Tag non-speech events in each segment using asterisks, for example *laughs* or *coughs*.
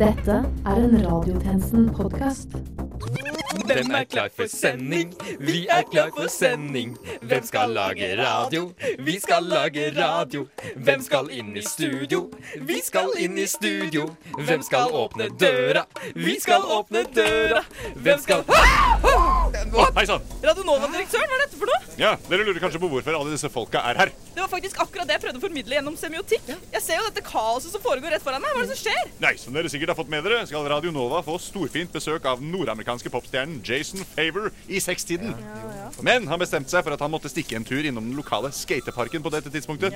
Dette er en Radiotjenesten-podkast. Hvem er klar for sending? Vi er klar for sending. Hvem skal lage radio? Vi skal lage radio. Hvem skal inn i studio? Vi skal inn i studio. Hvem skal åpne døra? Vi skal åpne døra. Hvem skal Hei sann. Radionova-direktøren, hva er dette for noe? Ja, dere lurer kanskje på hvorfor alle disse folka er her. Det var faktisk akkurat det jeg prøvde å formidle gjennom semiotikk. Jeg ser jo dette kaoset som foregår rett foran meg. Hva er det som skjer? Nei, Som dere sikkert har fått med dere, skal Radio Nova få storfint besøk av den nordamerikanske popstjernen Jason Favor i sekstiden. Men han bestemte seg for at han måtte stikke en tur innom den lokale skateparken på dette tidspunktet.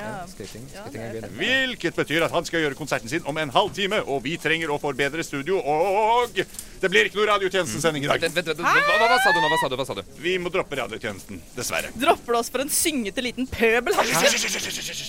Hvilket betyr at han skal gjøre konserten sin om en halv time, og vi trenger å forbedre studio, og Det blir ikke noe radiotjenestesending i dag. Vent, vent, vent. Hva, hva, hva sa du nå? Hva sa du? Hva sa du? Vi må droppe radiotjenesten, dessverre. Dropper det oss for en syngete liten pøbel? Har vi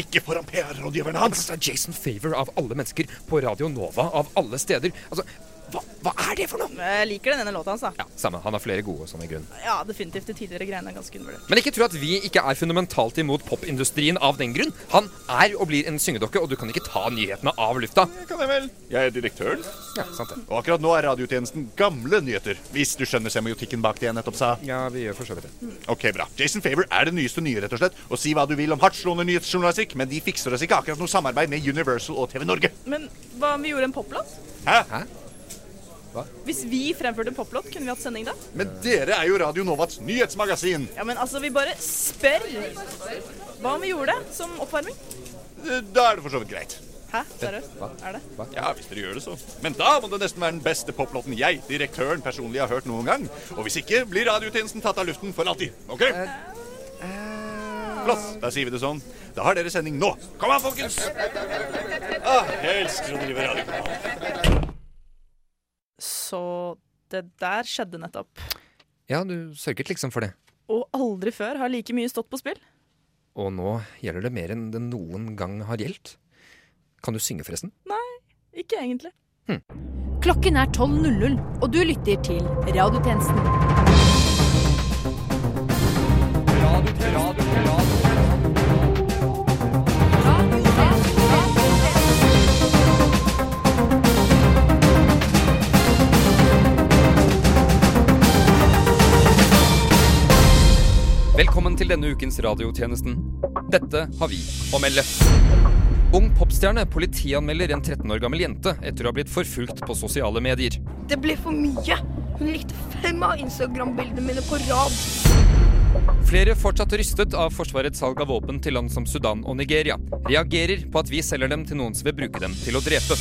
Ikke foran PR-rådgiveren hans! Altså, Jason Favor av alle mennesker på Radio Nova av alle steder. Altså, hva, hva er det for noe? Jeg liker den ene låta hans, da. Ja, Samme. Han har flere gode sånne i grunnen. Ja, definitivt. De tidligere greiene er ganske undervurdert. Men ikke tro at vi ikke er fundamentalt imot popindustrien av den grunn. Han er og blir en syngedokke, og du kan ikke ta nyhetene av lufta. Kan jeg vel? Jeg er direktøren. Ja, sant det. Og akkurat nå er radiotjenesten gamle nyheter, hvis du skjønner semiotikken bak det jeg nettopp sa. Ja, vi gjør for så vidt det. Ok, bra. Jason Favor er det nyeste nye, rett og slett. Og si hva du vil om hardtslående nyhetsjournalistikk, men de fikser oss ikke akkurat noe samarbeid med Universal og TV Norge. Men hva om vi gjorde en poplåt? Hæ? Hvis vi fremførte en poplåt, kunne vi hatt sending da? Men dere er jo Radio Novats nyhetsmagasin. Ja, men altså, vi bare spør. Hva om vi gjorde det som oppvarming? Eh, Da er det for så vidt greit. Hæ? Seriøst? Er det? Ja, hvis dere gjør det, så. Men da må det nesten være den beste poplåten jeg, direktøren, personlig har hørt noen gang. Og hvis ikke, blir radiotjenesten tatt av luften for alltid. OK? Flott. Da sier vi det sånn. Da har dere sending nå. Kom an, folkens! Ah, jeg elsker å drive radio. Så det der skjedde nettopp. Ja, du sørget liksom for det. Og aldri før har like mye stått på spill. Og nå gjelder det mer enn det noen gang har gjeldt. Kan du synge, forresten? Ikke egentlig. Hm. Klokken er 12.00, og du lytter til Radiotjenesten. Velkommen til denne ukens radiotjenesten. Dette har vi å melde. Ung popstjerne politianmelder en 13 år gammel jente etter å ha blitt forfulgt på sosiale medier. Det ble for mye. Hun likte fem av Instagram-bildene mine på rad. Flere fortsatt rystet av Forsvarets salg av våpen til land som Sudan og Nigeria. Reagerer på at vi selger dem til noen som vil bruke dem til å drepe.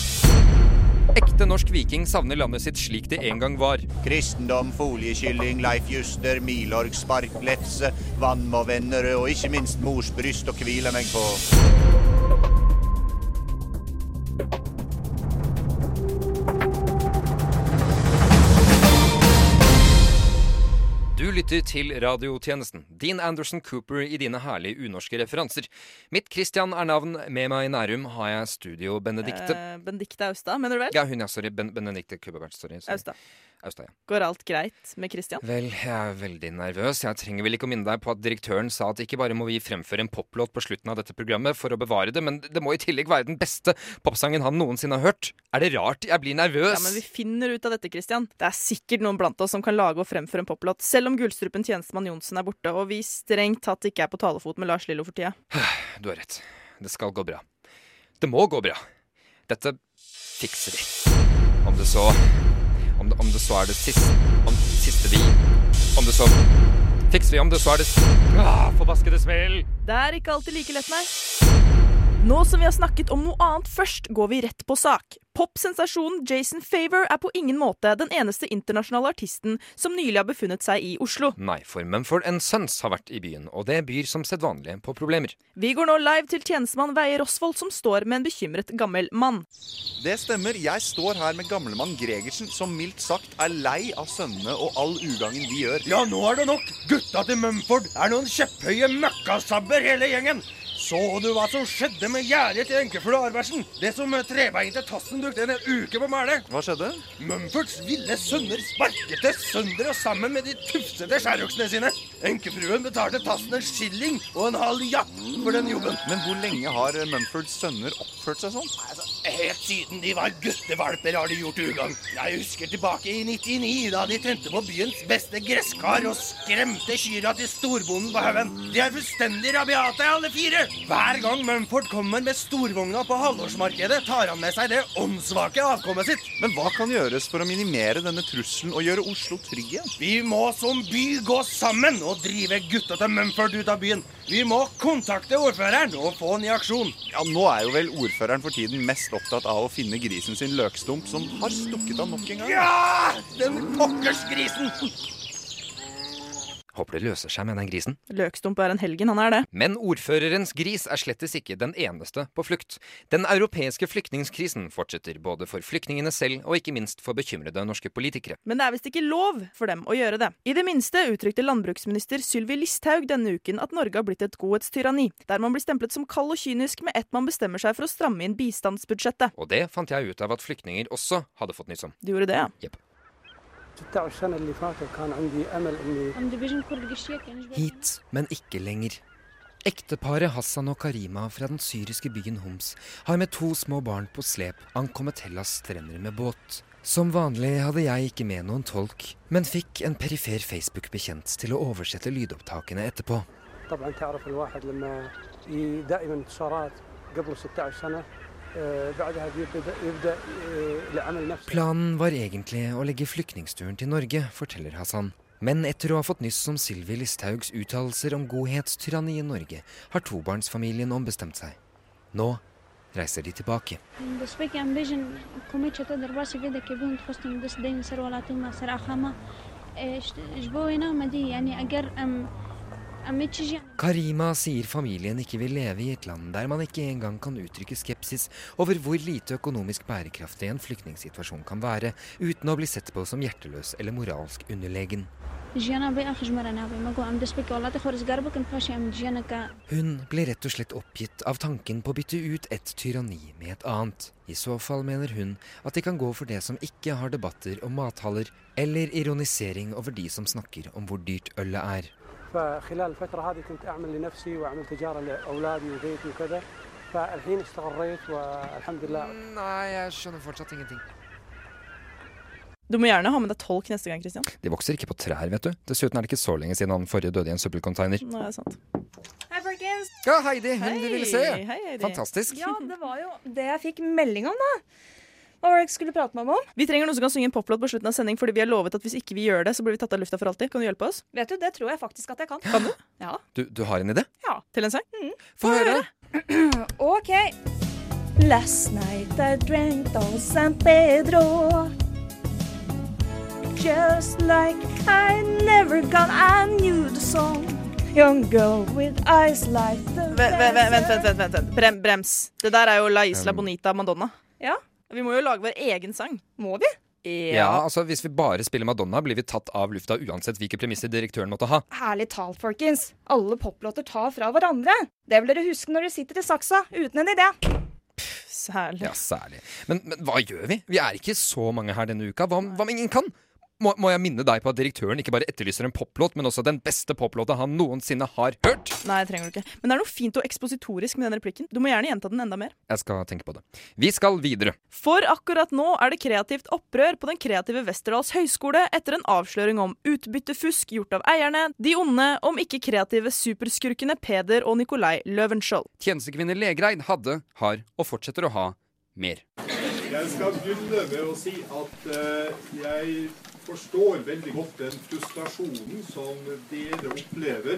Ekte norsk viking savner landet sitt slik det en gang var. Kristendom, foliekylling, leifjuster, milorgspark, lefse, vann og vennerød, og ikke minst mors bryst å hvile meg på. Du lytter til radiotjenesten. Dean Anderson Cooper i dine herlige unorske referanser. Mitt Christian er navn, med meg i Nærum har jeg Studio Benedicte. Eh, Benedicte Austad, mener du vel? Ja, hun, ja. Sorry. Ben Benedicte Kubebert. Sorry. sorry. Austad. Austa, ja. Går alt greit med Christian? Vel, jeg er veldig nervøs. Jeg trenger vel ikke å minne deg på at direktøren sa at ikke bare må vi fremføre en poplåt på slutten av dette programmet for å bevare det, men det må i tillegg være den beste popsangen han noensinne har hørt. Er det rart jeg blir nervøs? Ja, men vi finner ut av dette, Christian. Det er sikkert noen blant oss som kan lage og fremføre en poplåt, selv om gullstrupen tjenestemann Johnsen er borte, og vi strengt tatt ikke er på talefot med Lars Lillo for tida. Du har rett. Det skal gå bra. Det må gå bra. Dette fikser vi. Om det så Om det, om det så er det siste Om det siste vi Om det så Fikser vi om det så er det ah, Forbaskede smell! Det er ikke alltid like lett, nei. Nå som vi har snakket om noe annet først, går vi rett på sak. Popsensasjonen Jason Favor er på ingen måte den eneste internasjonale artisten som nylig har befunnet seg i Oslo. Nei, for Mumford Sons har vært i byen, og det byr som sedvanlig på problemer. Vi går nå live til tjenestemann Veie Rosvold, som står med en bekymret gammel mann. Det stemmer. Jeg står her med gamlemann Gregersen, som mildt sagt er lei av sønnene og all ugangen de gjør. Ja, nå er det nok! Gutta til Mumford er noen kjepphøye møkkasabber, hele gjengen! Så du hva som skjedde med gjerdet til enkefrue Arbertsen? Det som trebeinte tassen brukte en uke på mæle? Hva skjedde? Mumfords ville sønner sparket det sønder og sammen med de tufsete skjærøksene sine. Enkefruen betalte Tassen en skilling og en halv japp for den jobben. Men hvor lenge har eh, Mumfords sønner oppført seg sånn? Altså, helt siden de var guttevalper, har de gjort ugagn. Jeg husker tilbake i 99, da de tente på byens beste gresskar og skremte kyrne til storbonden på haugen. De er fullstendig rabiate, alle fire. Hver gang Mumford kommer med storvogna på halvårsmarkedet, tar han med seg det åndssvake avkommet sitt. Men hva kan gjøres for å minimere denne trusselen og gjøre Oslo trygg igjen? Vi må som by gå sammen og drive gutta til Mumford ut av byen. Vi må kontakte ordføreren og få han i aksjon. Ja, Nå er jo vel ordføreren for tiden mest opptatt av å finne grisen sin løkstump, som har stukket av nok en gang. Ja! Den pokkers grisen! Håper det løser seg med den grisen. Løkstump er en helgen, han er det. Men ordførerens gris er slettes ikke den eneste på flukt. Den europeiske flyktningkrisen fortsetter, både for flyktningene selv og ikke minst for bekymrede norske politikere. Men det er visst ikke lov for dem å gjøre det. I det minste uttrykte landbruksminister Sylvi Listhaug denne uken at Norge har blitt et godhetstyranni, der man blir stemplet som kald og kynisk med ett man bestemmer seg for å stramme inn bistandsbudsjettet. Og det fant jeg ut av at flyktninger også hadde fått nyss om. Du gjorde det, ja. 16 سنة اللي فاتوا كان عندي أمل إني Hit, men ikke lenger. Ekteparet Hassan og Karima fra den syriske byen Homs har med to små barn på slep ankommet Hellas strender med båt. Som vanlig hadde jeg ikke med noen tolk, men fikk en perifer Facebook-bekjent til å oversette lydopptakene etterpå. طبعا تعرف الواحد لما ي- دائما انتصارات قبل 16 سنة آه، بعدها بيبدأ يبدأ آه، العمل نفسه Planen var egentlig å legge flyktningsturen til Norge, forteller Hassan. Men etter å ha fått nyss om Sylvi Listhaugs uttalelser om godhetstyranni i Norge, har tobarnsfamilien ombestemt seg. Nå reiser de tilbake. Despite că am bejen comit ce tot derba se vede că bun fost un des din ser wala tuma ser akhama E جبوينا مدي يعني اقر ام ام تشجي Karima sier familien ikke vil leve i et land der man ikke engang kan uttrykke skepsis over hvor lite økonomisk bærekraftig en flyktningsituasjon kan være, uten å bli sett på som hjerteløs eller moralsk underlegen. جيانا بي اخ جمر انا بي مقو ام دسبك والله تخرج قربك ان فاشي ام جيانا كا Hun ble rett og slett oppgitt av tanken på å bytte ut et tyranni med et annet. I så fall mener hun at de kan gå for det som ikke har debatter om mathaller, eller ironisering over de som snakker om hvor dyrt ølet er. فخلال الفترة هذه كنت أعمل لنفسي وأعمل تجارة لأولادي وبيتي وكذا فالحين استقريت والحمد لله Nei, jeg skjønner fortsatt ingenting. Du må gjerne ha med deg tolk neste gang, Christian. De vokser ikke på trær, vet du. Dessuten er det ikke så lenge siden han forrige døde i en søppelcontainer. Nå er det sant. Ja, Heidi, hun du ville se! Hei, hei, Heidi. Fantastisk. Ja, det var jo det jeg fikk melding om, da. Hva var det jeg skulle prate med meg om? Vi trenger noen som kan synge en poplåt på slutten av sending, fordi vi har lovet at hvis ikke vi gjør det, så blir vi tatt av lufta for alltid. Kan du hjelpe oss? Vet du, det tror jeg faktisk at jeg kan. Ja. Mm. Du, du har en idé? Til en sang? Få høre! *clears throat* OK. Last night I drank on San Pedro. Just like I never got, I knew the song. Young girl with eyes like the Vent, vent, vent. vent, vent, vent, vent. Brem, brems. Det der er jo La Isla Bonita Madonna. Ja. Vi må jo lage vår egen sang. Må vi? Ja, altså Hvis vi bare spiller Madonna, blir vi tatt av lufta uansett hvilke premisser direktøren måtte ha. Ærlig talt, folkens. Alle poplåter tar fra hverandre. Det vil dere huske når dere sitter i saksa uten en idé. Særlig. Ja, særlig. Men, men hva gjør vi? Vi er ikke så mange her denne uka. Hva om, hva om ingen kan? Må, må jeg minne deg på at direktøren ikke bare etterlyser en poplåt, men også den beste poplåta han noensinne har hørt? Nei, det trenger du ikke. Men det er noe fint og ekspositorisk med den replikken. Du må gjerne gjenta den enda mer. Jeg skal tenke på det. Vi skal videre. For akkurat nå er det kreativt opprør på Den kreative Westerdals høgskole etter en avsløring om utbyttefusk gjort av eierne, de onde, om ikke kreative superskurkene Peder og Nikolai Løvenskiold. Tjenestekvinne Legreid hadde, har og fortsetter å ha mer. Jeg skal begynne med å si at eh, jeg forstår veldig godt den frustrasjonen som dere opplever.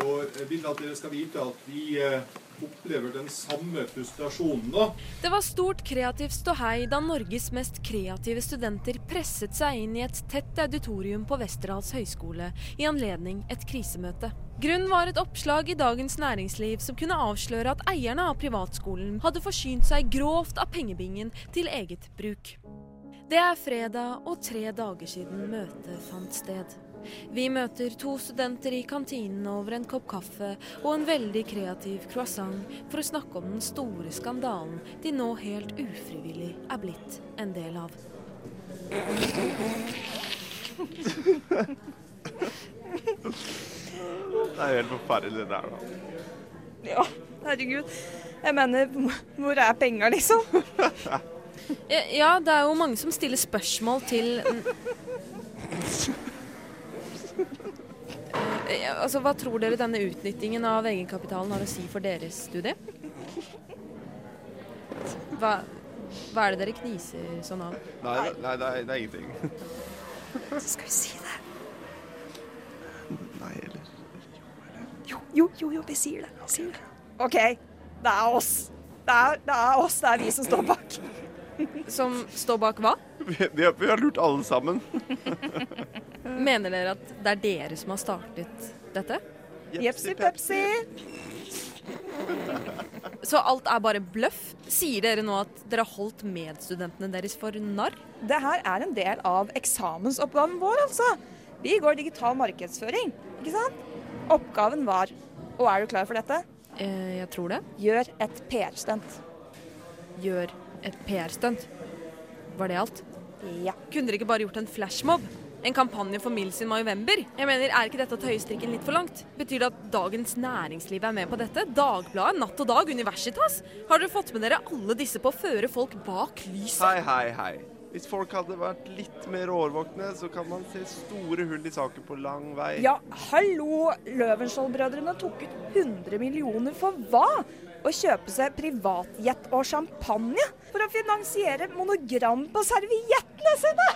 Og jeg vil at dere skal vite at vi eh, opplever den samme frustrasjonen nå. Det var stort kreativt ståhei da Norges mest kreative studenter presset seg inn i et tett auditorium på Westerdals høgskole i anledning et krisemøte. Grunnen var et oppslag i Dagens Næringsliv som kunne avsløre at eierne av privatskolen hadde forsynt seg grovt av pengebingen til eget bruk. Det er fredag og tre dager siden møtet fant sted. Vi møter to studenter i kantinen over en kopp kaffe og en veldig kreativ croissant for å snakke om den store skandalen de nå helt ufrivillig er blitt en del av. Det er helt forferdelig, det der. da. Ja, herregud. Jeg mener, hvor- hvor er penger, liksom? Eh, Ja, det er jo mange som stiller spørsmål til Eh, ja, Altså, Hva tror dere denne utnyttingen av egenkapitalen har å si for deres studie? Hva, hva er det dere kniser sånn av? Nei, nei det, er, det er ingenting. Skal vi si det? *laughs* Nei, eller Jo, jo, jo, jo, vi sier det. Vi sier det. OK, det er oss. Det er, det er oss, det er vi som står bak. Som står bak hva? vi, vi har- vi har lurt alle sammen. Eh. Mener dere at det er dere som har startet dette? Jepsi pepsi. *laughs* Så alt er bare bløff? Sier dere nå at dere har holdt medstudentene deres for narr? Det her er en del av eksamensoppgaven vår, altså. Vi går digital markedsføring, ikke sant? Oppgaven var Og er du klar for dette? Eh, jeg tror det. Gjør et PR-stunt. Gjør et PR-stunt. Var det alt? Ja. Kunne dere ikke bare gjort en flashmob? En kampanje for Mills in November? Jeg mener, Er ikke dette å tøye strikken litt for langt? Betyr det at Dagens Næringsliv er med på dette? Dagbladet, Natt og Dag, Universitas? Har dere fått med dere alle disse på å føre folk bak lyset? Hei, hei, hei. Hvis folk hadde vært litt mer årvåkne, så kan man se store hull i saken på lang vei. Ja, hallo! Løvenskiold-brødrene tok ut 100 millioner for hva? Å kjøpe seg privatjet og champagne for å finansiere monogram på serviettene sine!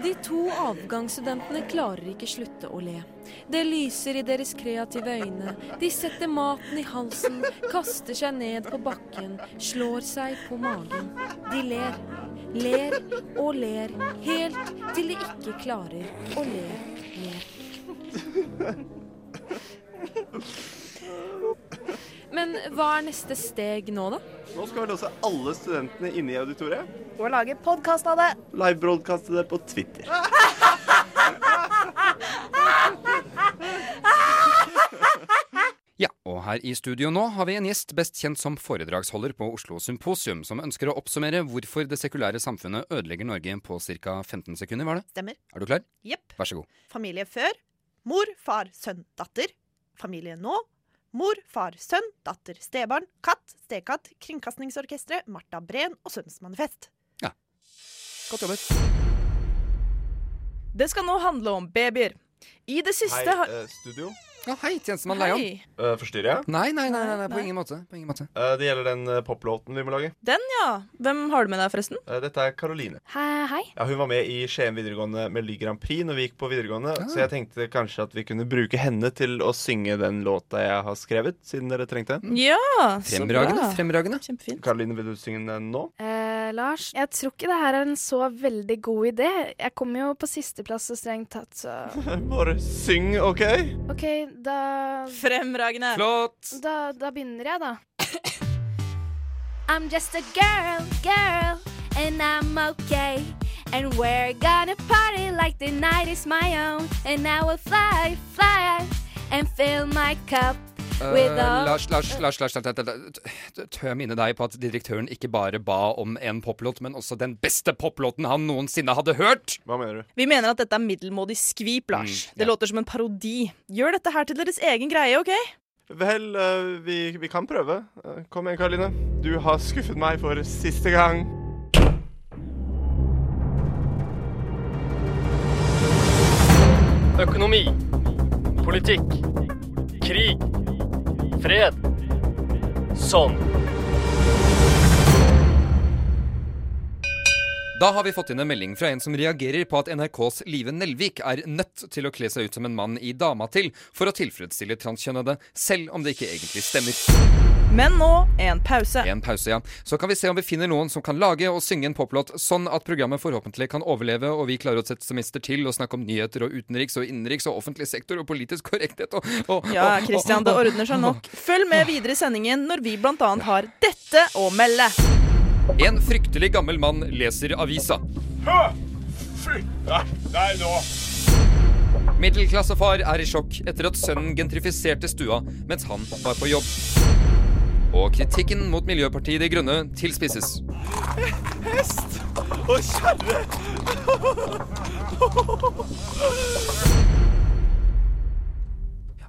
De to avgangsstudentene klarer ikke slutte å le. Det lyser i deres kreative øyne. De setter maten i halsen, kaster seg ned på bakken, slår seg på magen. De ler. Ler og ler, helt til de ikke klarer å le mer. Men hva er neste steg nå, da? Nå skal vi låse alle studentene inne i auditoriet. Og lage podkast av det! Livebroadkaste det på Twitter. Ja, og her i studio nå har vi en gjest best kjent som foredragsholder på Oslo Symposium, som ønsker å oppsummere hvorfor det sekulære samfunnet ødelegger Norge på ca. 15 sekunder, var det? Stemmer. Er du klar? Jepp. Vær så god. Familie før. Mor, far, sønn, datter. Familie nå. Mor, far, sønn, datter, stebarn, katt, stekatt, Kringkastingsorkesteret, Marta Breen og Sønnsmanifest. Godt jobbet. Det skal nå handle om babyer. I det siste Hei, har eh, studio. Ja, hei, tjenestemann Leion. Hei. Eh, forstyrrer jeg? Nei, nei, nei, nei, nei, på Nei. ingen måte. På ingen måte. Eh, det gjelder den eh, poplåten vi må lage. Den, ja. Hvem har du med deg, forresten? Eh, dette er Karoline. Hei, hei. Ja, hun var med i Skien videregående Melodi Grand Prix når vi gikk på videregående, Ah. så jeg tenkte kanskje at vi kunne bruke henne til å synge den låta jeg har skrevet, siden dere trengte den. Ja, så Fremragende, bra. fremragende. Kjempefint. Karoline, vil du synge den nå? *laughs* Eh, Lars, jeg tror ikke det her er en så veldig god idé. Jeg kom jo på sisteplass så strengt tatt, så Bare syng, OK? OK, da Fremragende. Flott. Da, da begynner jeg, da. *coughs* I'm just a girl, girl, and I'm okay. And we're gonna party like the night is my own. And I will fly, fly, and fill my cup with all Eh, Lars, Lars, Lars, Lars, Lars, Lars, Lars, Lars tør jeg minne deg på at direktøren ikke bare ba om en poplåt, men også den beste poplåten han noensinne hadde hørt! Hva mener du? Vi mener at dette er middelmådig skvip, Lars. Mm, Det låter som en parodi. Gjør dette her til deres egen greie, OK? Vel, eh, vi, vi kan prøve. Eh, Kom igjen, Karoline. Du har skuffet meg for siste gang. Økonomi. Politikk. Krig. Fred. Sånn. Da har vi fått inn en melding fra en som reagerer på at NRKs Live Nelvik er nødt til å kle seg ut som en mann i dama til for å tilfredsstille transkjønnede, selv om det ikke egentlig stemmer. Men nå en pause. En pause, ja. Så kan vi se om vi finner noen som kan lage og synge en poplåt, sånn at programmet forhåpentlig kan overleve, og vi klarer oss et semester til og snakke om nyheter og utenriks og innenriks og offentlig sektor og politisk korrekthet og, og Ja, og- Christian, det og- ordner seg nok. Følg med videre i sendingen når vi bl.a. har dette å melde. En fryktelig gammel mann leser avisa. Flytta deg nå! Middelklassefar er i sjokk etter at sønnen gentrifiserte stua mens han var på jobb. Og kritikken mot Miljøpartiet De Grønne tilspisses. Hest og kjerre.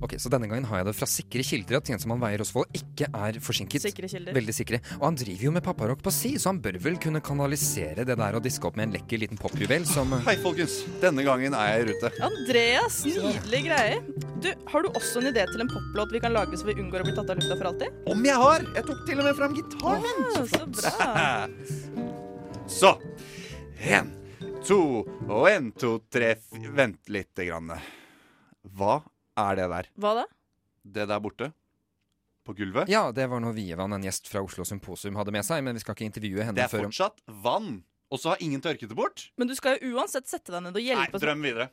Ok, Så denne gangen har jeg det fra sikre kilder at tjenestemann Veier Osvold ikke er forsinket. Sikre kilder. Veldig sikre. Og han driver jo med papparock på si, så han bør vel kunne kanalisere det der og diske opp med en lekker liten popjuvel som Hei, folkens. Denne gangen er jeg i rute. Andreas, nydelige greier. Du, har du også en idé til en poplåt vi kan lage så vi unngår å bli tatt av lufta for alltid? Om jeg har! Jeg tok til og med fram gitaren min. så bra. Så. En, to og en, to, tre f- Vent lite grann. Hva er det der? Hva da? Det der borte? På gulvet? Ja, det var noe Vievann, en gjest fra Oslo Symposium, hadde med seg, men vi skal ikke intervjue henne Det er før om fortsatt vann. Og så har ingen tørket det bort. Men du skal jo uansett sette deg ned og hjelpe. oss. Drøm videre.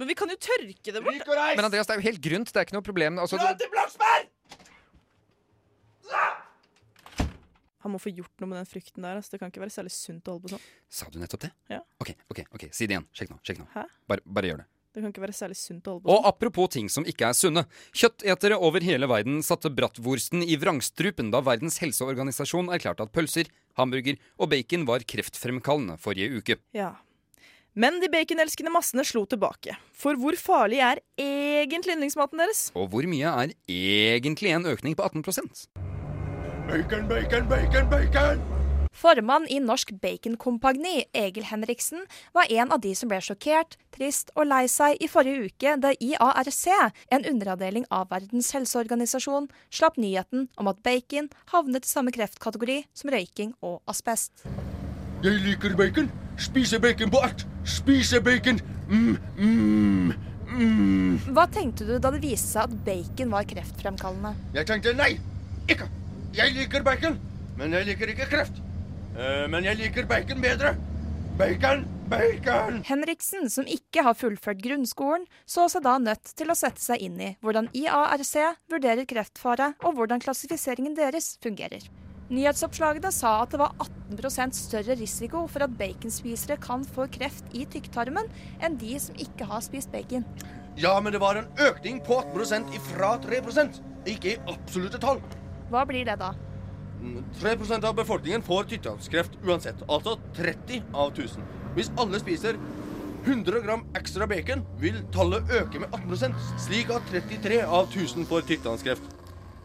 Men vi kan jo tørke det bort. Men Andreas, det er jo helt grunt. Det er ikke noe problem. Altså, du... Han må få gjort noe med den frykten der. Altså. Det kan ikke være særlig sunt å holde på sånn. Sa du nettopp det? Ja. Ok, ok, ok, si det igjen. Sjekk nå. sjekk nå. Hæ? Bare, bare gjør det. Det kan ikke være særlig sunt å holde på sånn. Og apropos ting som ikke er sunne. Kjøttetere over hele verden satte bratwursten i vrangstrupen da Verdens helseorganisasjon erklærte at pølser, hamburger og bacon var kreftfremkallende forrige uke. Ja. Men de baconelskende massene slo tilbake. For hvor farlig er egentlig yndlingsmaten deres? Og hvor mye er egentlig en økning på 18 Bacon, bacon, bacon, bacon! Formann i Norsk Baconkompagni, Egil Henriksen, var en av de som ble sjokkert, trist og lei seg i forrige uke da IARC, en underavdeling av Verdens helseorganisasjon, slapp nyheten om at bacon havnet i samme kreftkategori som røyking og asbest. Jeg liker bacon. Spise bacon på alt. Spise bacon. Mm, mm, mm. Hva tenkte du da det viste seg at bacon var kreftfremkallende? Jeg tenkte nei, ikke. Jeg liker bacon, men jeg liker ikke kreft. Eh, men jeg liker bacon bedre. Bacon, bacon! Henriksen, som ikke har fullført grunnskolen, så seg da nødt til å sette seg inn i hvordan IARC vurderer kreftfare, og hvordan klassifiseringen deres fungerer. Nyhetsoppslagene sa at det var 18 større risiko for at baconspisere kan få kreft i tykktarmen, enn de som ikke har spist bacon. Ja, men det var en økning på 8 ifra 3 Ikke i absolutte tall. Hva blir det da? Mm, 3 av befolkningen får tykktarmskreft uansett. Altså 30 av 1000. Hvis alle spiser 100 gram ekstra bacon, vil tallet øke med 18 slik at 33 av 1000 får tykktarmskreft.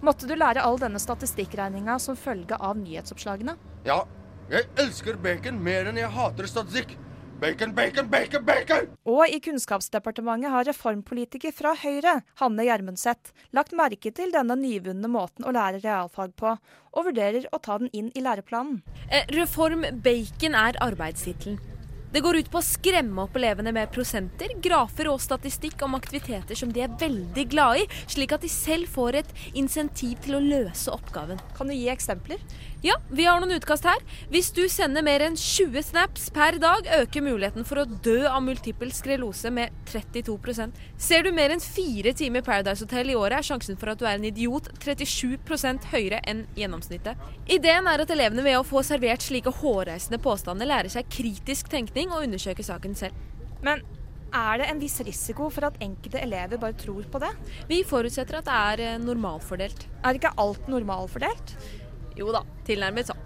Måtte du lære all denne statistikkregninga som følge av nyhetsoppslagene? Ja, jeg elsker bacon mer enn jeg hater statistikk. Bacon, bacon, bacon, bacon! Og i Kunnskapsdepartementet har reformpolitiker fra Høyre, Hanne Gjermundseth, lagt merke til denne nyvunne måten å lære realfag på, og vurderer å ta den inn i læreplanen. Eh, Reform Bacon er arbeidstittelen. Det går ut på å skremme opp elevene med prosenter, grafer og statistikk om aktiviteter som de er veldig glad i, slik at de selv får et insentiv til å løse oppgaven. Kan du gi eksempler? Ja, vi har noen utkast her. Hvis du sender mer enn 20 snaps per dag, øker muligheten for å dø av multiple skrelose med 32 Ser du mer enn fire timer Paradise Hotel i året, er sjansen for at du er en idiot 37 høyere enn gjennomsnittet. Ideen er at elevene ved å få servert slike hårreisende påstander lærer seg kritisk tenkning og undersøker saken selv. Men er det en viss risiko for at enkelte elever bare tror på det? Vi forutsetter at det er eh, normalfordelt. Er ikke alt normalfordelt? Jo da, tilnærmet *laughs* sånn.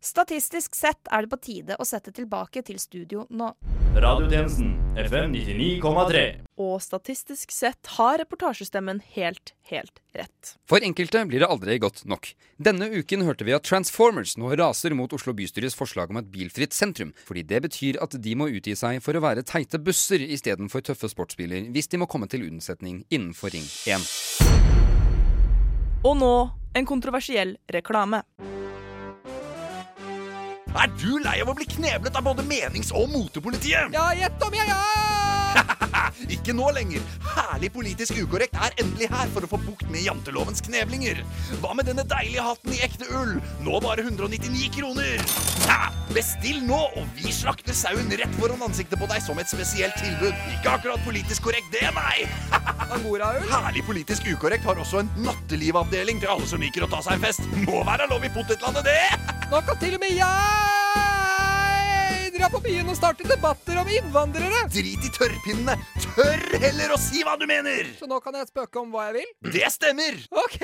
Statistisk sett er det på tide å sette tilbake til studio nå. Radiotjenesten FM 99,3. Og statistisk sett har reportasjestemmen helt, helt rett. For enkelte blir det aldri godt nok. Denne uken hørte vi at Transformers nå raser mot Oslo bystyres forslag om et bilfritt sentrum, fordi det betyr at de må utgi seg for å være teite busser istedenfor tøffe sportsbiler hvis de må komme til unnsetning innenfor Ring 1. Og nå en kontroversiell reklame. Er du lei av å bli kneblet av både menings- og motepolitiet? Ja, gjett om jeg er! *laughs* Ikke nå lenger. Herlig politisk ukorrekt er endelig her for å få bukt med jantelovens kneblinger. Hva med denne deilige hatten i ekte ull? Nå bare 199 kroner. Ja, bestill nå, og vi slakter sauen rett foran ansiktet på deg som et spesielt tilbud. Ikke akkurat politisk korrekt, det, nei. *laughs* Herlig politisk ukorrekt har også en nattelivavdeling til alle som liker å ta seg en fest. Må være lov i potetlandet, det. Nå kan til og med jeg dra på byen og starte debatter om innvandrere! Drit i tørrpinnene! Tør heller å si hva du mener! Så nå kan jeg spøke om hva jeg vil? Det stemmer! Ok,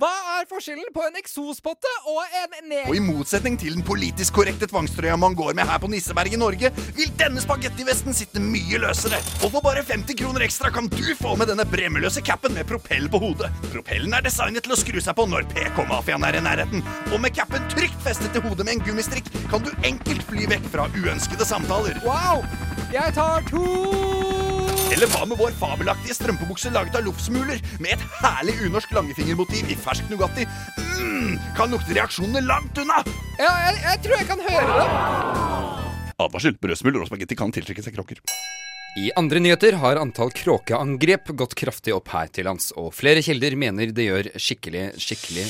hva er forskjellen på en eksospotte og en neg... Og i motsetning til den politisk korrekte tvangstrøya man går med her på Nisseberg i Norge, vil denne spagettivesten sitte mye løsere. Og for bare 50 kroner ekstra kan du få med denne bremmeløse cappen med propell på hodet. Propellen er designet til å skru seg på når PK-mafiaen er i nærheten. Og med cappen trygt festet til hodet med en gummistrikk kan du enkelt fly vekk fra uønskede samtaler. Wow! Jeg tar to Eller hva med vår fabelaktige strømpebukse laget av loffsmuler med et herlig unorsk langefingermotiv i fersk Nugatti? Mm, kan lukte reaksjonene langt unna! Ja, jeg, jeg tror jeg kan høre det. Advarsel, brødsmuler og spagetti kan tiltrekke seg kråker. I andre nyheter har antall kråkeangrep gått kraftig opp her til lands, og flere kilder mener det gjør skikkelig, skikkelig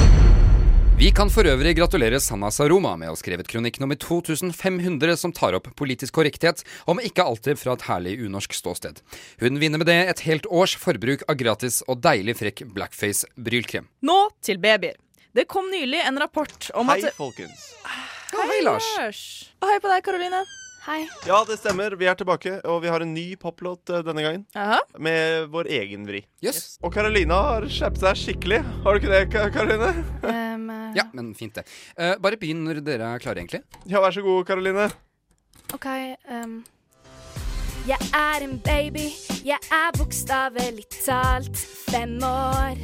vondt. Vi kan for øvrig gratulere Sanna Saroma med å ha skrevet kronikk nummer 2500 som tar opp politisk korrekthet, om ikke alltid fra et herlig unorsk ståsted. Hun vinner med det et helt års forbruk av gratis og deilig frekk blackface-brylkrem. Nå til babyer. Det kom nylig en rapport om Hei, at folkens. Hei, Lars. Og hei på deg, Karoline. Hei. Ja, det stemmer. Vi er tilbake, og vi har en ny poplåt eh, denne gangen. Aha. Med vår egen vri. Yes. Og Carolina har skjerpet seg skikkelig. Har du ikke det, Ka- Caroline? Um, Ja, men fint det. Eh, bare begynn når dere er klare, egentlig. Ja, vær så god, Caroline. OK ehm. Jeg er en baby, jeg er bokstavelig talt fem år.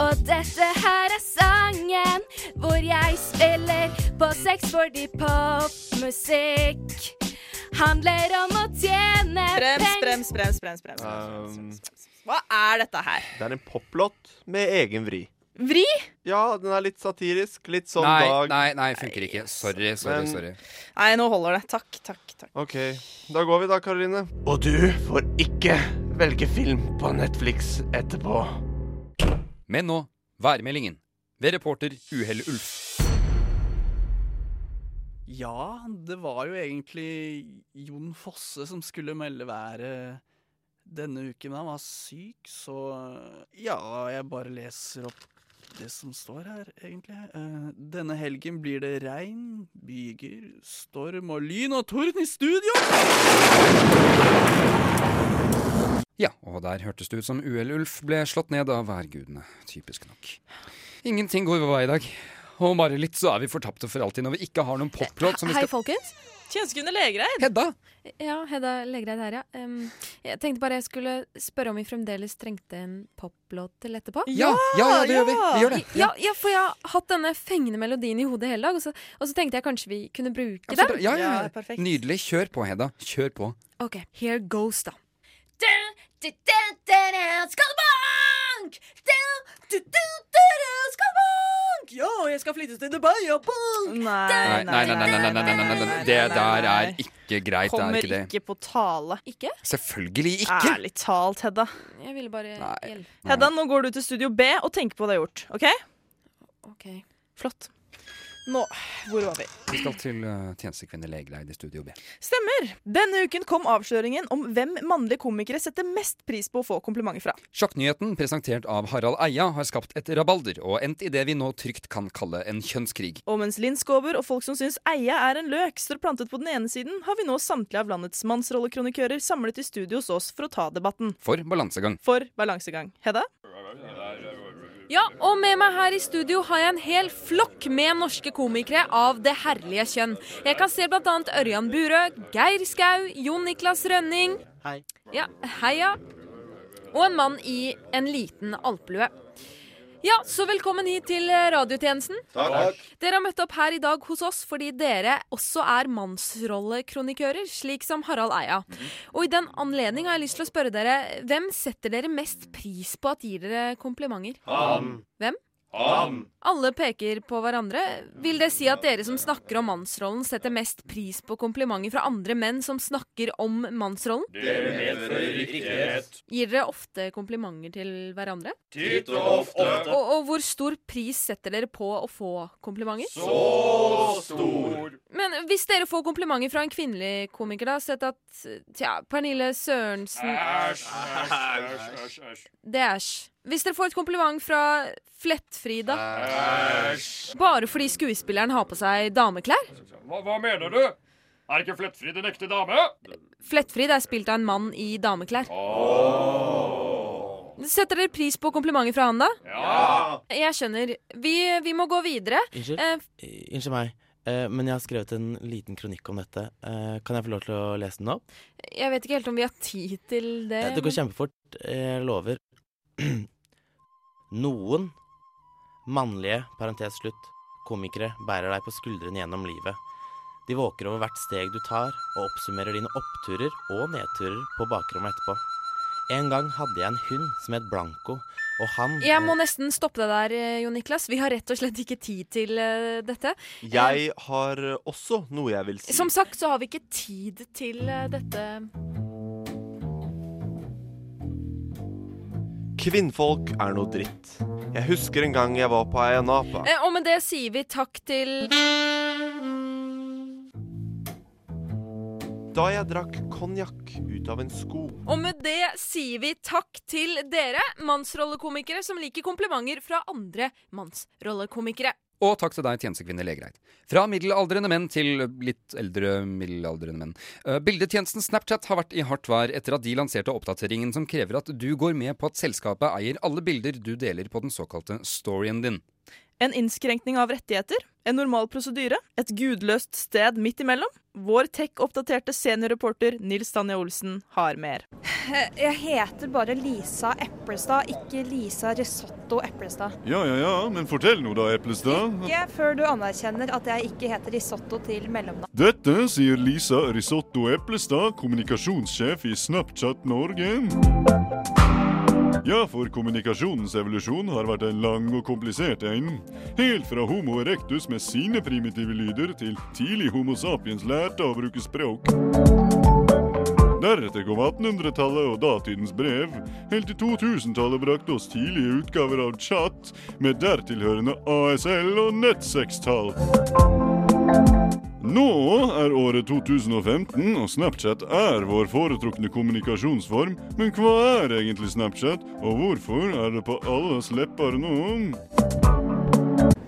Og dette her er sangen hvor jeg spiller på sex fordi popmusikk handler om å tjene Brems, penger brems, brems, brems, brems. Um, Hva er dette her? det er en poplåt med egen vri. Vri? Ja, den er litt satirisk. Litt sånn nei, dag nei, nei, funker ikke. Sorry, sorry, Men- sorry. Nei, nå holder det. Takk, takk. takk. OK. Da går vi da, Karoline. Og du får ikke velge film på Netflix etterpå. Men nå værmeldingen ved reporter Uhell Ulf. Ja, det var jo egentlig Jon Fosse som skulle melde været denne uken, men han var syk, så ja, jeg bare leser opp det som står her, egentlig. Eh, Denne helgen blir det regn, byger, storm og lyn og torden i studio! Ja, og der hørtes det ut som Uhell Ulf ble slått ned av værgudene. Typisk nok. Ingenting går vår vei i dag. Og bare litt så er vi fortapte for alltid når vi ikke har noen poplåt som vi Hei, skal folkens. Tjenestekvinne Legreid. Hedda. Ja, Hedda Legreid her, ja. Em, jeg tenkte bare jeg skulle spørre om vi fremdeles trengte en poplåt til etterpå. Ja, ja, ja, det gjør vi. Vi gjør det. Ja, ja, for jeg har hatt denne fengende melodien i hodet hele dag, og så, og så tenkte jeg kanskje vi kunne bruke Ja, den. ja, ja, ja. Nydelig. Kjør på, Hedda. Kjør på. Ok, here goes, da. Skallebank! Skallebank! Ja, jeg skal flyttes til Dubai og bank! Nei, nei, nei, nei, nei, nei, nei, nei, nei, nei. Det der er ikke greit. Det Kommer er ikke det. ikke på tale. Ikke? Selvfølgelig Ah, ikke. Ærlig talt, Hedda. Jeg ville bare hjelpe. Hedda, nå går du til Studio B og tenker på hva du har gjort. OK? Ok. Flott. Nå, hvor var vi? Vi skal til uh, tjenestekvinne Legreid i Studio B. Stemmer. Denne uken kom avsløringen om hvem mannlige komikere setter mest pris på å få komplimenter fra. Sjokknyheten presentert av Harald Eia har skapt et rabalder og endt i det vi nå trygt kan kalle en kjønnskrig. Og mens Linn Skåber og folk som syns Eia er en løk, står plantet på den ene siden, har vi nå samtlige av landets mannsrollekronikører samlet i studio hos oss for å ta debatten. For balansegang. For balansegang. Hedda? Ja, og med meg her i studio har jeg en hel flokk med norske komikere av det herlige kjønn. Jeg kan se bl.a. Ørjan Burøe, Geir Skau, Jon Niklas Rønning Hei. Ja, heia. Og en mann i en liten alpelue. Ja, så velkommen hit til eh, radiotjenesten. Takk. Dere har møtt opp her i dag hos oss fordi dere også er mannsrollekronikører, slik som Harald Eia. Mhm. Og i den anledning har jeg lyst til å spørre dere, hvem setter dere mest pris på at gir dere komplimenter? Han. Hvem? Han. Alle peker på hverandre. Vil det si at dere som snakker om mannsrollen, setter mest pris på komplimenter fra andre menn som snakker om mannsrollen? Det medfører riktighet. Gir dere ofte komplimenter til hverandre? Titt og ofte. Og, og hvor stor pris setter dere på å få komplimenter? Så stor. Men hvis dere får komplimenter fra en kvinnelig komiker, da, sett at tja, Pernille Sørensen Æsj. Æsj. æsj, æsj. Det er æsj. Hvis dere får et kompliment fra Flettfrida Æsj. Bare fordi skuespilleren har på seg dameklær? Hva, hva mener du? Er ikke Flettfrid en ekte dame? Flettfrid er spilt av en mann i dameklær. Setter dere pris på komplimenter fra han, da? Ja. Jeg skjønner. Vi, vi må gå videre. Unnskyld? Eh, Eh, Unnskyld meg, eh, men jeg har skrevet en liten kronikk om dette. Eh, Kan jeg få lov til å lese den opp? Jeg vet ikke helt om vi har tid til det. Eh, Det går men- kjempefort, eh, jeg lover. *clears throat* Noen mannlige, parentes slutt, komikere bærer deg på skuldrene gjennom livet. De våker over hvert steg du tar, og oppsummerer dine oppturer og nedturer på bakrommet etterpå. En gang hadde jeg en hund som het Blanco, og han eh, Jeg må nesten stoppe deg der, eh, Jon Niklas. Vi har rett og slett ikke tid til eh, dette. Eh, Jeg har også noe jeg vil si. Som sagt så har vi ikke tid til eh, dette. Kvinnfolk er noe dritt. Jeg husker en gang jeg var på Ayia Napa. Eh, Og med det sier vi takk til Da jeg drakk konjakk ut av en sko. Og med det sier vi takk til dere, mannsrollekomikere som liker komplimenter fra andre mannsrollekomikere. Og takk til deg, tjenestekvinne Legereid. Fra middelaldrende menn til litt eldre middelaldrende menn. Eh, Bildetjenesten Snapchat har vært i hardt vær etter at de lanserte oppdateringen som krever at du går med på at selskapet eier alle bilder du deler på den såkalte storyen din. En innskrenkning av rettigheter, en normal prosedyre, et gudløst sted midt imellom. Vår tech-oppdaterte seniorreporter Nils Tanja Olsen har mer. Jeg heter bare Lisa Eplestad, ikke Lisa Risotto Eplestad. Ja, ja, ja, men fortell nå da, Eplestad. Ikke før du anerkjenner at jeg ikke heter risotto til mellomnavn. Dette sier Lisa Risotto Eplestad, kommunikasjonssjef i Snapchat Norge. Ja, for kommunikasjonens evolusjon har vært en lang og komplisert en. Helt fra Homo erectus med sine primitive lyder til tidlig Homo sapiens lærte å bruke språk. Deretter kom 1800-tallet og datidens brev. Helt til 2000-tallet brakte oss tidlige utgaver av chat med dertilhørende ASL og nettsextall. Nå er året 2015, og Snapchat er vår foretrukne kommunikasjonsform. Men hva er egentlig Snapchat, og hvorfor er det på alles lepper nå?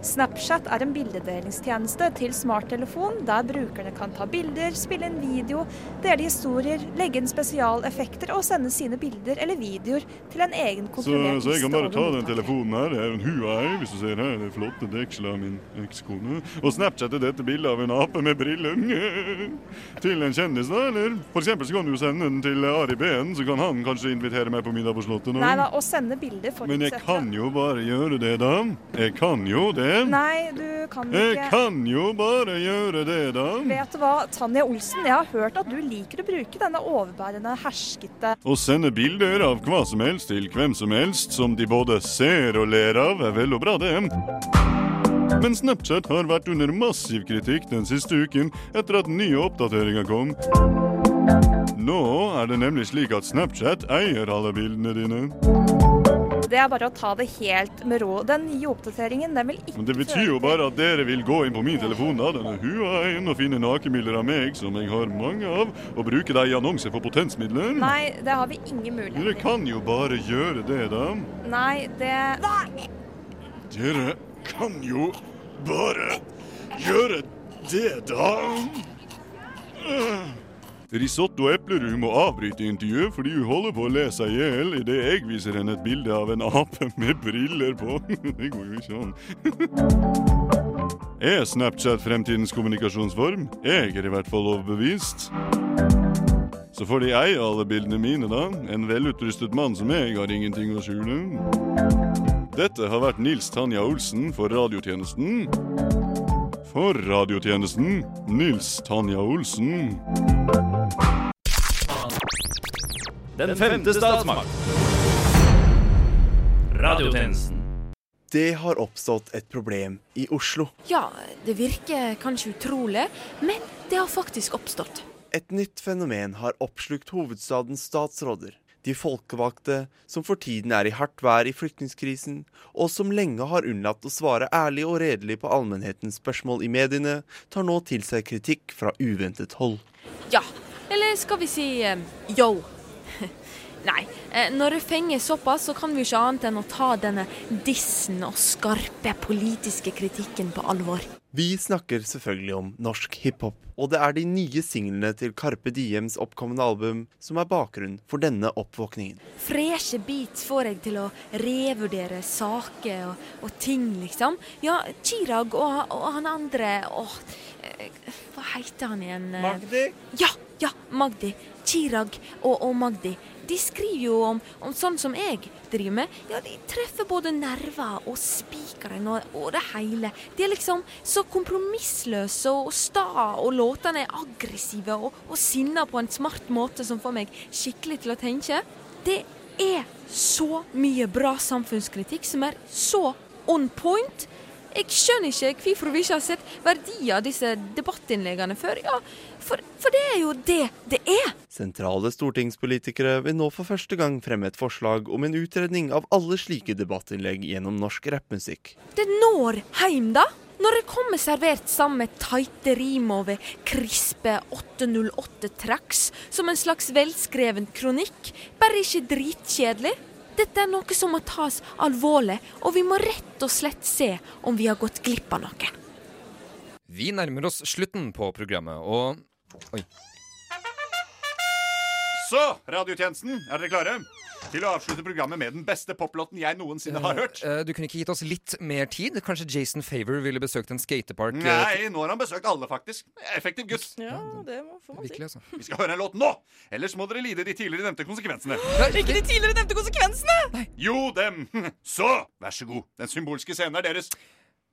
Snapchat er en bildedelingstjeneste til smarttelefon der brukerne kan ta bilder, spille inn video, dele historier, legge inn spesialeffekter og sende sine bilder eller videoer til en egen Så, kontrollert så jeg kan liste bare ta over den telefonen her. Det er en Huawei, hvis du ser her. Det flotte dekselet av min ekskone. Og Snapchat er dette bildet av en ape med briller. Til en kjendis, da, eller? For eksempel så kan du jo sende den til Ari Behn, så kan han kanskje invitere meg på middag på Slottet nå. Nei da, å sende bilder Men jeg forutsetter kan jo bare gjøre det, da. Jeg kan jo det. Nei, du kan Jeg ikke kan jo bare gjøre det, da. Vet du hva, Tanja Olsen, jeg har hørt at du liker å bruke denne overbærende, herskete Å sende bilder av hva som helst til hvem som helst, som de både ser og ler av, er vel og bra, det. Men Snapchat har vært under massiv kritikk den siste uken etter at nye oppdateringer kom. Nå er det nemlig slik at Snapchat eier alle bildene dine. Det er bare å ta det helt med ro. Den nye oppdateringen den vil ikke Men det betyr jo bare at dere vil gå inn på min telefon, da, denne Huaien, og finne nakenbilder av meg, som jeg har mange av, og bruke dem i annonser for potensmidler. Nei, det har vi ingen mulighet Dere kan jo bare gjøre det, da. Nei, det Nei! Dere kan jo bare gjøre det, da. Risotto Eplerud må avbryte intervjuet fordi hun holder på å le seg i hjel idet jeg viser henne et bilde av en ape med briller på. *laughs* Det går jo ikke an. *laughs* Er Snapchat fremtidens kommunikasjonsform? Jeg er i hvert fall overbevist. Så får de eie alle bildene mine, da. En velutrustet mann som jeg har ingenting å skjule. Dette har vært Nils Tanja Olsen for radiotjenesten. For radiotjenesten Nils Tanja Olsen. Den femte statsmakt. Radiotjenesten. Det har oppstått et problem i Oslo. Ja, det virker kanskje utrolig, men det har faktisk oppstått. Et nytt fenomen har oppslukt hovedstadens statsråder. De folkevalgte som for tiden er i hardt vær i flyktningkrisen, og som lenge har unnlatt å svare ærlig og redelig på allmennhetens spørsmål i mediene, tar nå til seg kritikk fra uventet hold. Ja, eller skal vi si eh, yo? *laughs* Nei. eh, Når det fenger såpass, så kan vi ikke annet enn å ta denne dissen og skarpe politiske kritikken på alvor. Vi snakker selvfølgelig om norsk hiphop, og det er de nye singlene til Carpe Diems oppkommende album som er bakgrunn for denne oppvåkningen. Freshe beats får jeg til å revurdere saker og, og ting, liksom. Ja, Chirag og, og han andre Åh, eh, hva heter han igjen? eh? Magdi? Ja, ja, Magdi. Chirag og, og Magdi. De skriver jo om, om sånn som jeg driver med. Ja, de treffer både nerver og spikeren og, og det hele. De er liksom så kompromissløse og sta, og låtene er aggressive og, og sinna på en smart måte som får meg skikkelig til å tenke. Det er så mye bra samfunnskritikk som er så on point. Jeg skjønner ikke hvorfor vi ikke har sett verdi av disse debattinnleggene før. Ja, for, for det er jo det det er. Sentrale stortingspolitikere vil nå for første gang fremme et forslag om en utredning av alle slike debattinnlegg gjennom norsk rappmusikk. Det når heim, da. Når det kommer servert sammen med tighte rim over krispe 808-tracks, som en slags velskreven kronikk, bare ikke dritkjedelig. Dette er noe som må tas alvorlig, og vi må rett og slett se om vi har gått glipp av noe. Vi nærmer oss slutten på programmet, og Oi. Så, radiotjenesten, er dere klare? Til å avslutte programmet med den beste poplåten jeg noensinne har hørt. Eh, Du kunne ikke gitt oss litt mer tid? Kanskje Jason Favor ville besøkt en skatepark? eh, Nei, nå har han besøkt alle, faktisk. Effektiv gutt. Ja, det må, får man Virkelig, altså. Vi skal høre en låt nå! Ellers må dere lide de tidligere nevnte konsekvensene. Ikke de tidligere nevnte konsekvensene! Jo, dem! Så, vær så god. Den symbolske scenen er deres.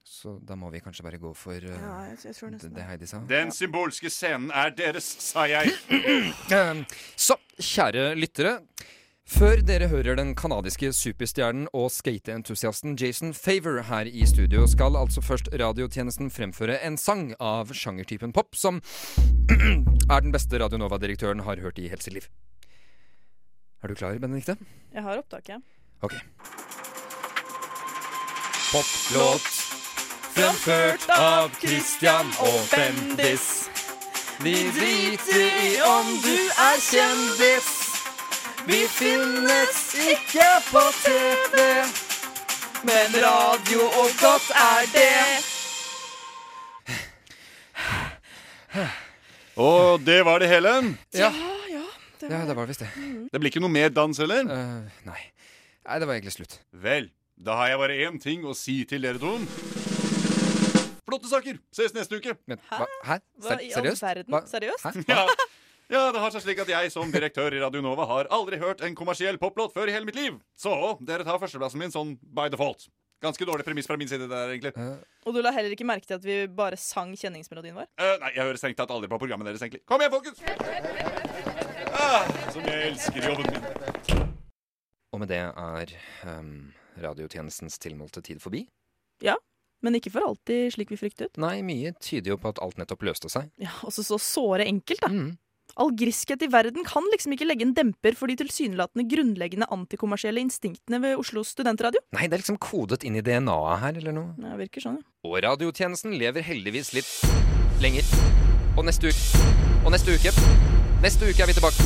Så da må vi kanskje bare gå for eh, Ja, jeg- jeg tror nesten det, det Heidi sa. Den symbolske scenen er deres, sa jeg. Eh, Så, kjære lyttere. Før dere hører den kanadiske superstjernen og skateentusiasten Jason Favor her i studio, skal altså først radiotjenesten fremføre en sang av sjangertypen pop som *clears throat* er den beste Radionova-direktøren har hørt i hele sitt liv. Er du klar, Benedikte? Jeg har opptaket. Ok. Poplåt fremført av Christian og Bendis. Vi driter i om du er kjendis. Vi finnes ikke på TV. Men radio og godt er det. Og det var det hele. Ja. ja. Det var, ja, det var visst det. Mm-hmm. Eh, Det blir ikke noe mer dans, eller? nei. Nei, det var egentlig slutt. Vel, da har jeg bare én ting å si til dere to. Flotte saker! Ses neste uke. Men, hva? Hæ? Hva i all Seriøst? verden? Hva? Seriøst? Hæ? Ja. ja, det har seg slik at jeg som direktør i Radionova har aldri hørt en kommersiell poplåt før i hele mitt liv. Så dere tar førsteplassen min sånn by default. Ganske dårlig premiss fra min side der, egentlig. Eh. Og du la heller ikke merke til at vi bare sang kjenningsmelodien vår? Eh, nei, jeg hører strengt tatt aldri på programmet deres, egentlig. Kom igjen, *laughs* folkens! Ah, som jeg elsker jobben min. Og med det er ehm, radiotjenestens tilmålte tid forbi. Ja. Men ikke for alltid slik vi fryktet. Nei, mye tyder jo på at alt nettopp løste seg. Ja, Også så såre enkelt, da. Mm. All griskhet i verden kan liksom ikke legge en demper for de tilsynelatende grunnleggende antikommersielle instinktene ved Oslos studentradio. Nei, det er liksom kodet inn i DNA-et her, eller noe. Ja, virker sånn, ja. Og radiotjenesten lever heldigvis litt lenger. Og neste uke Og neste uke Neste uke er vi tilbake.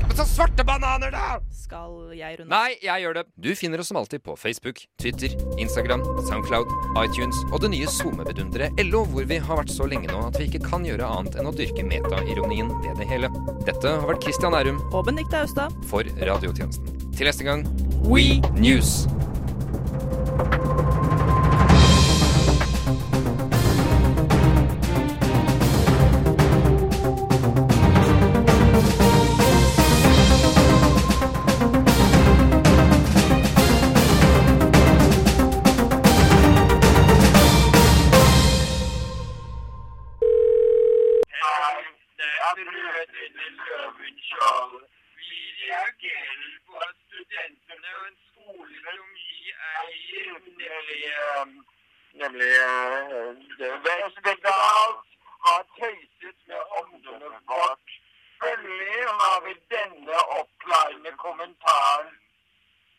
Ja, men så svarte bananer, da! Skal jeg runde? Nei, jeg gjør det. Du finner oss som alltid på Facebook, Twitter, Instagram, Soundcloud, iTunes og det nye SoMe-vidunderet LO, hvor vi har vært så lenge nå at vi ikke kan gjøre annet enn å dyrke metaironien ved det hele. Dette har vært Christian Ærum Og Benedicte Austad. for Radiotjenesten. Til neste gang We News! Nemlig eh, det Westerdal har tøyset med omdømmet vårt. Følgelig har vi denne oppklarende kommentaren.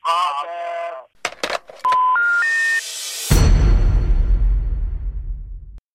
Ha det!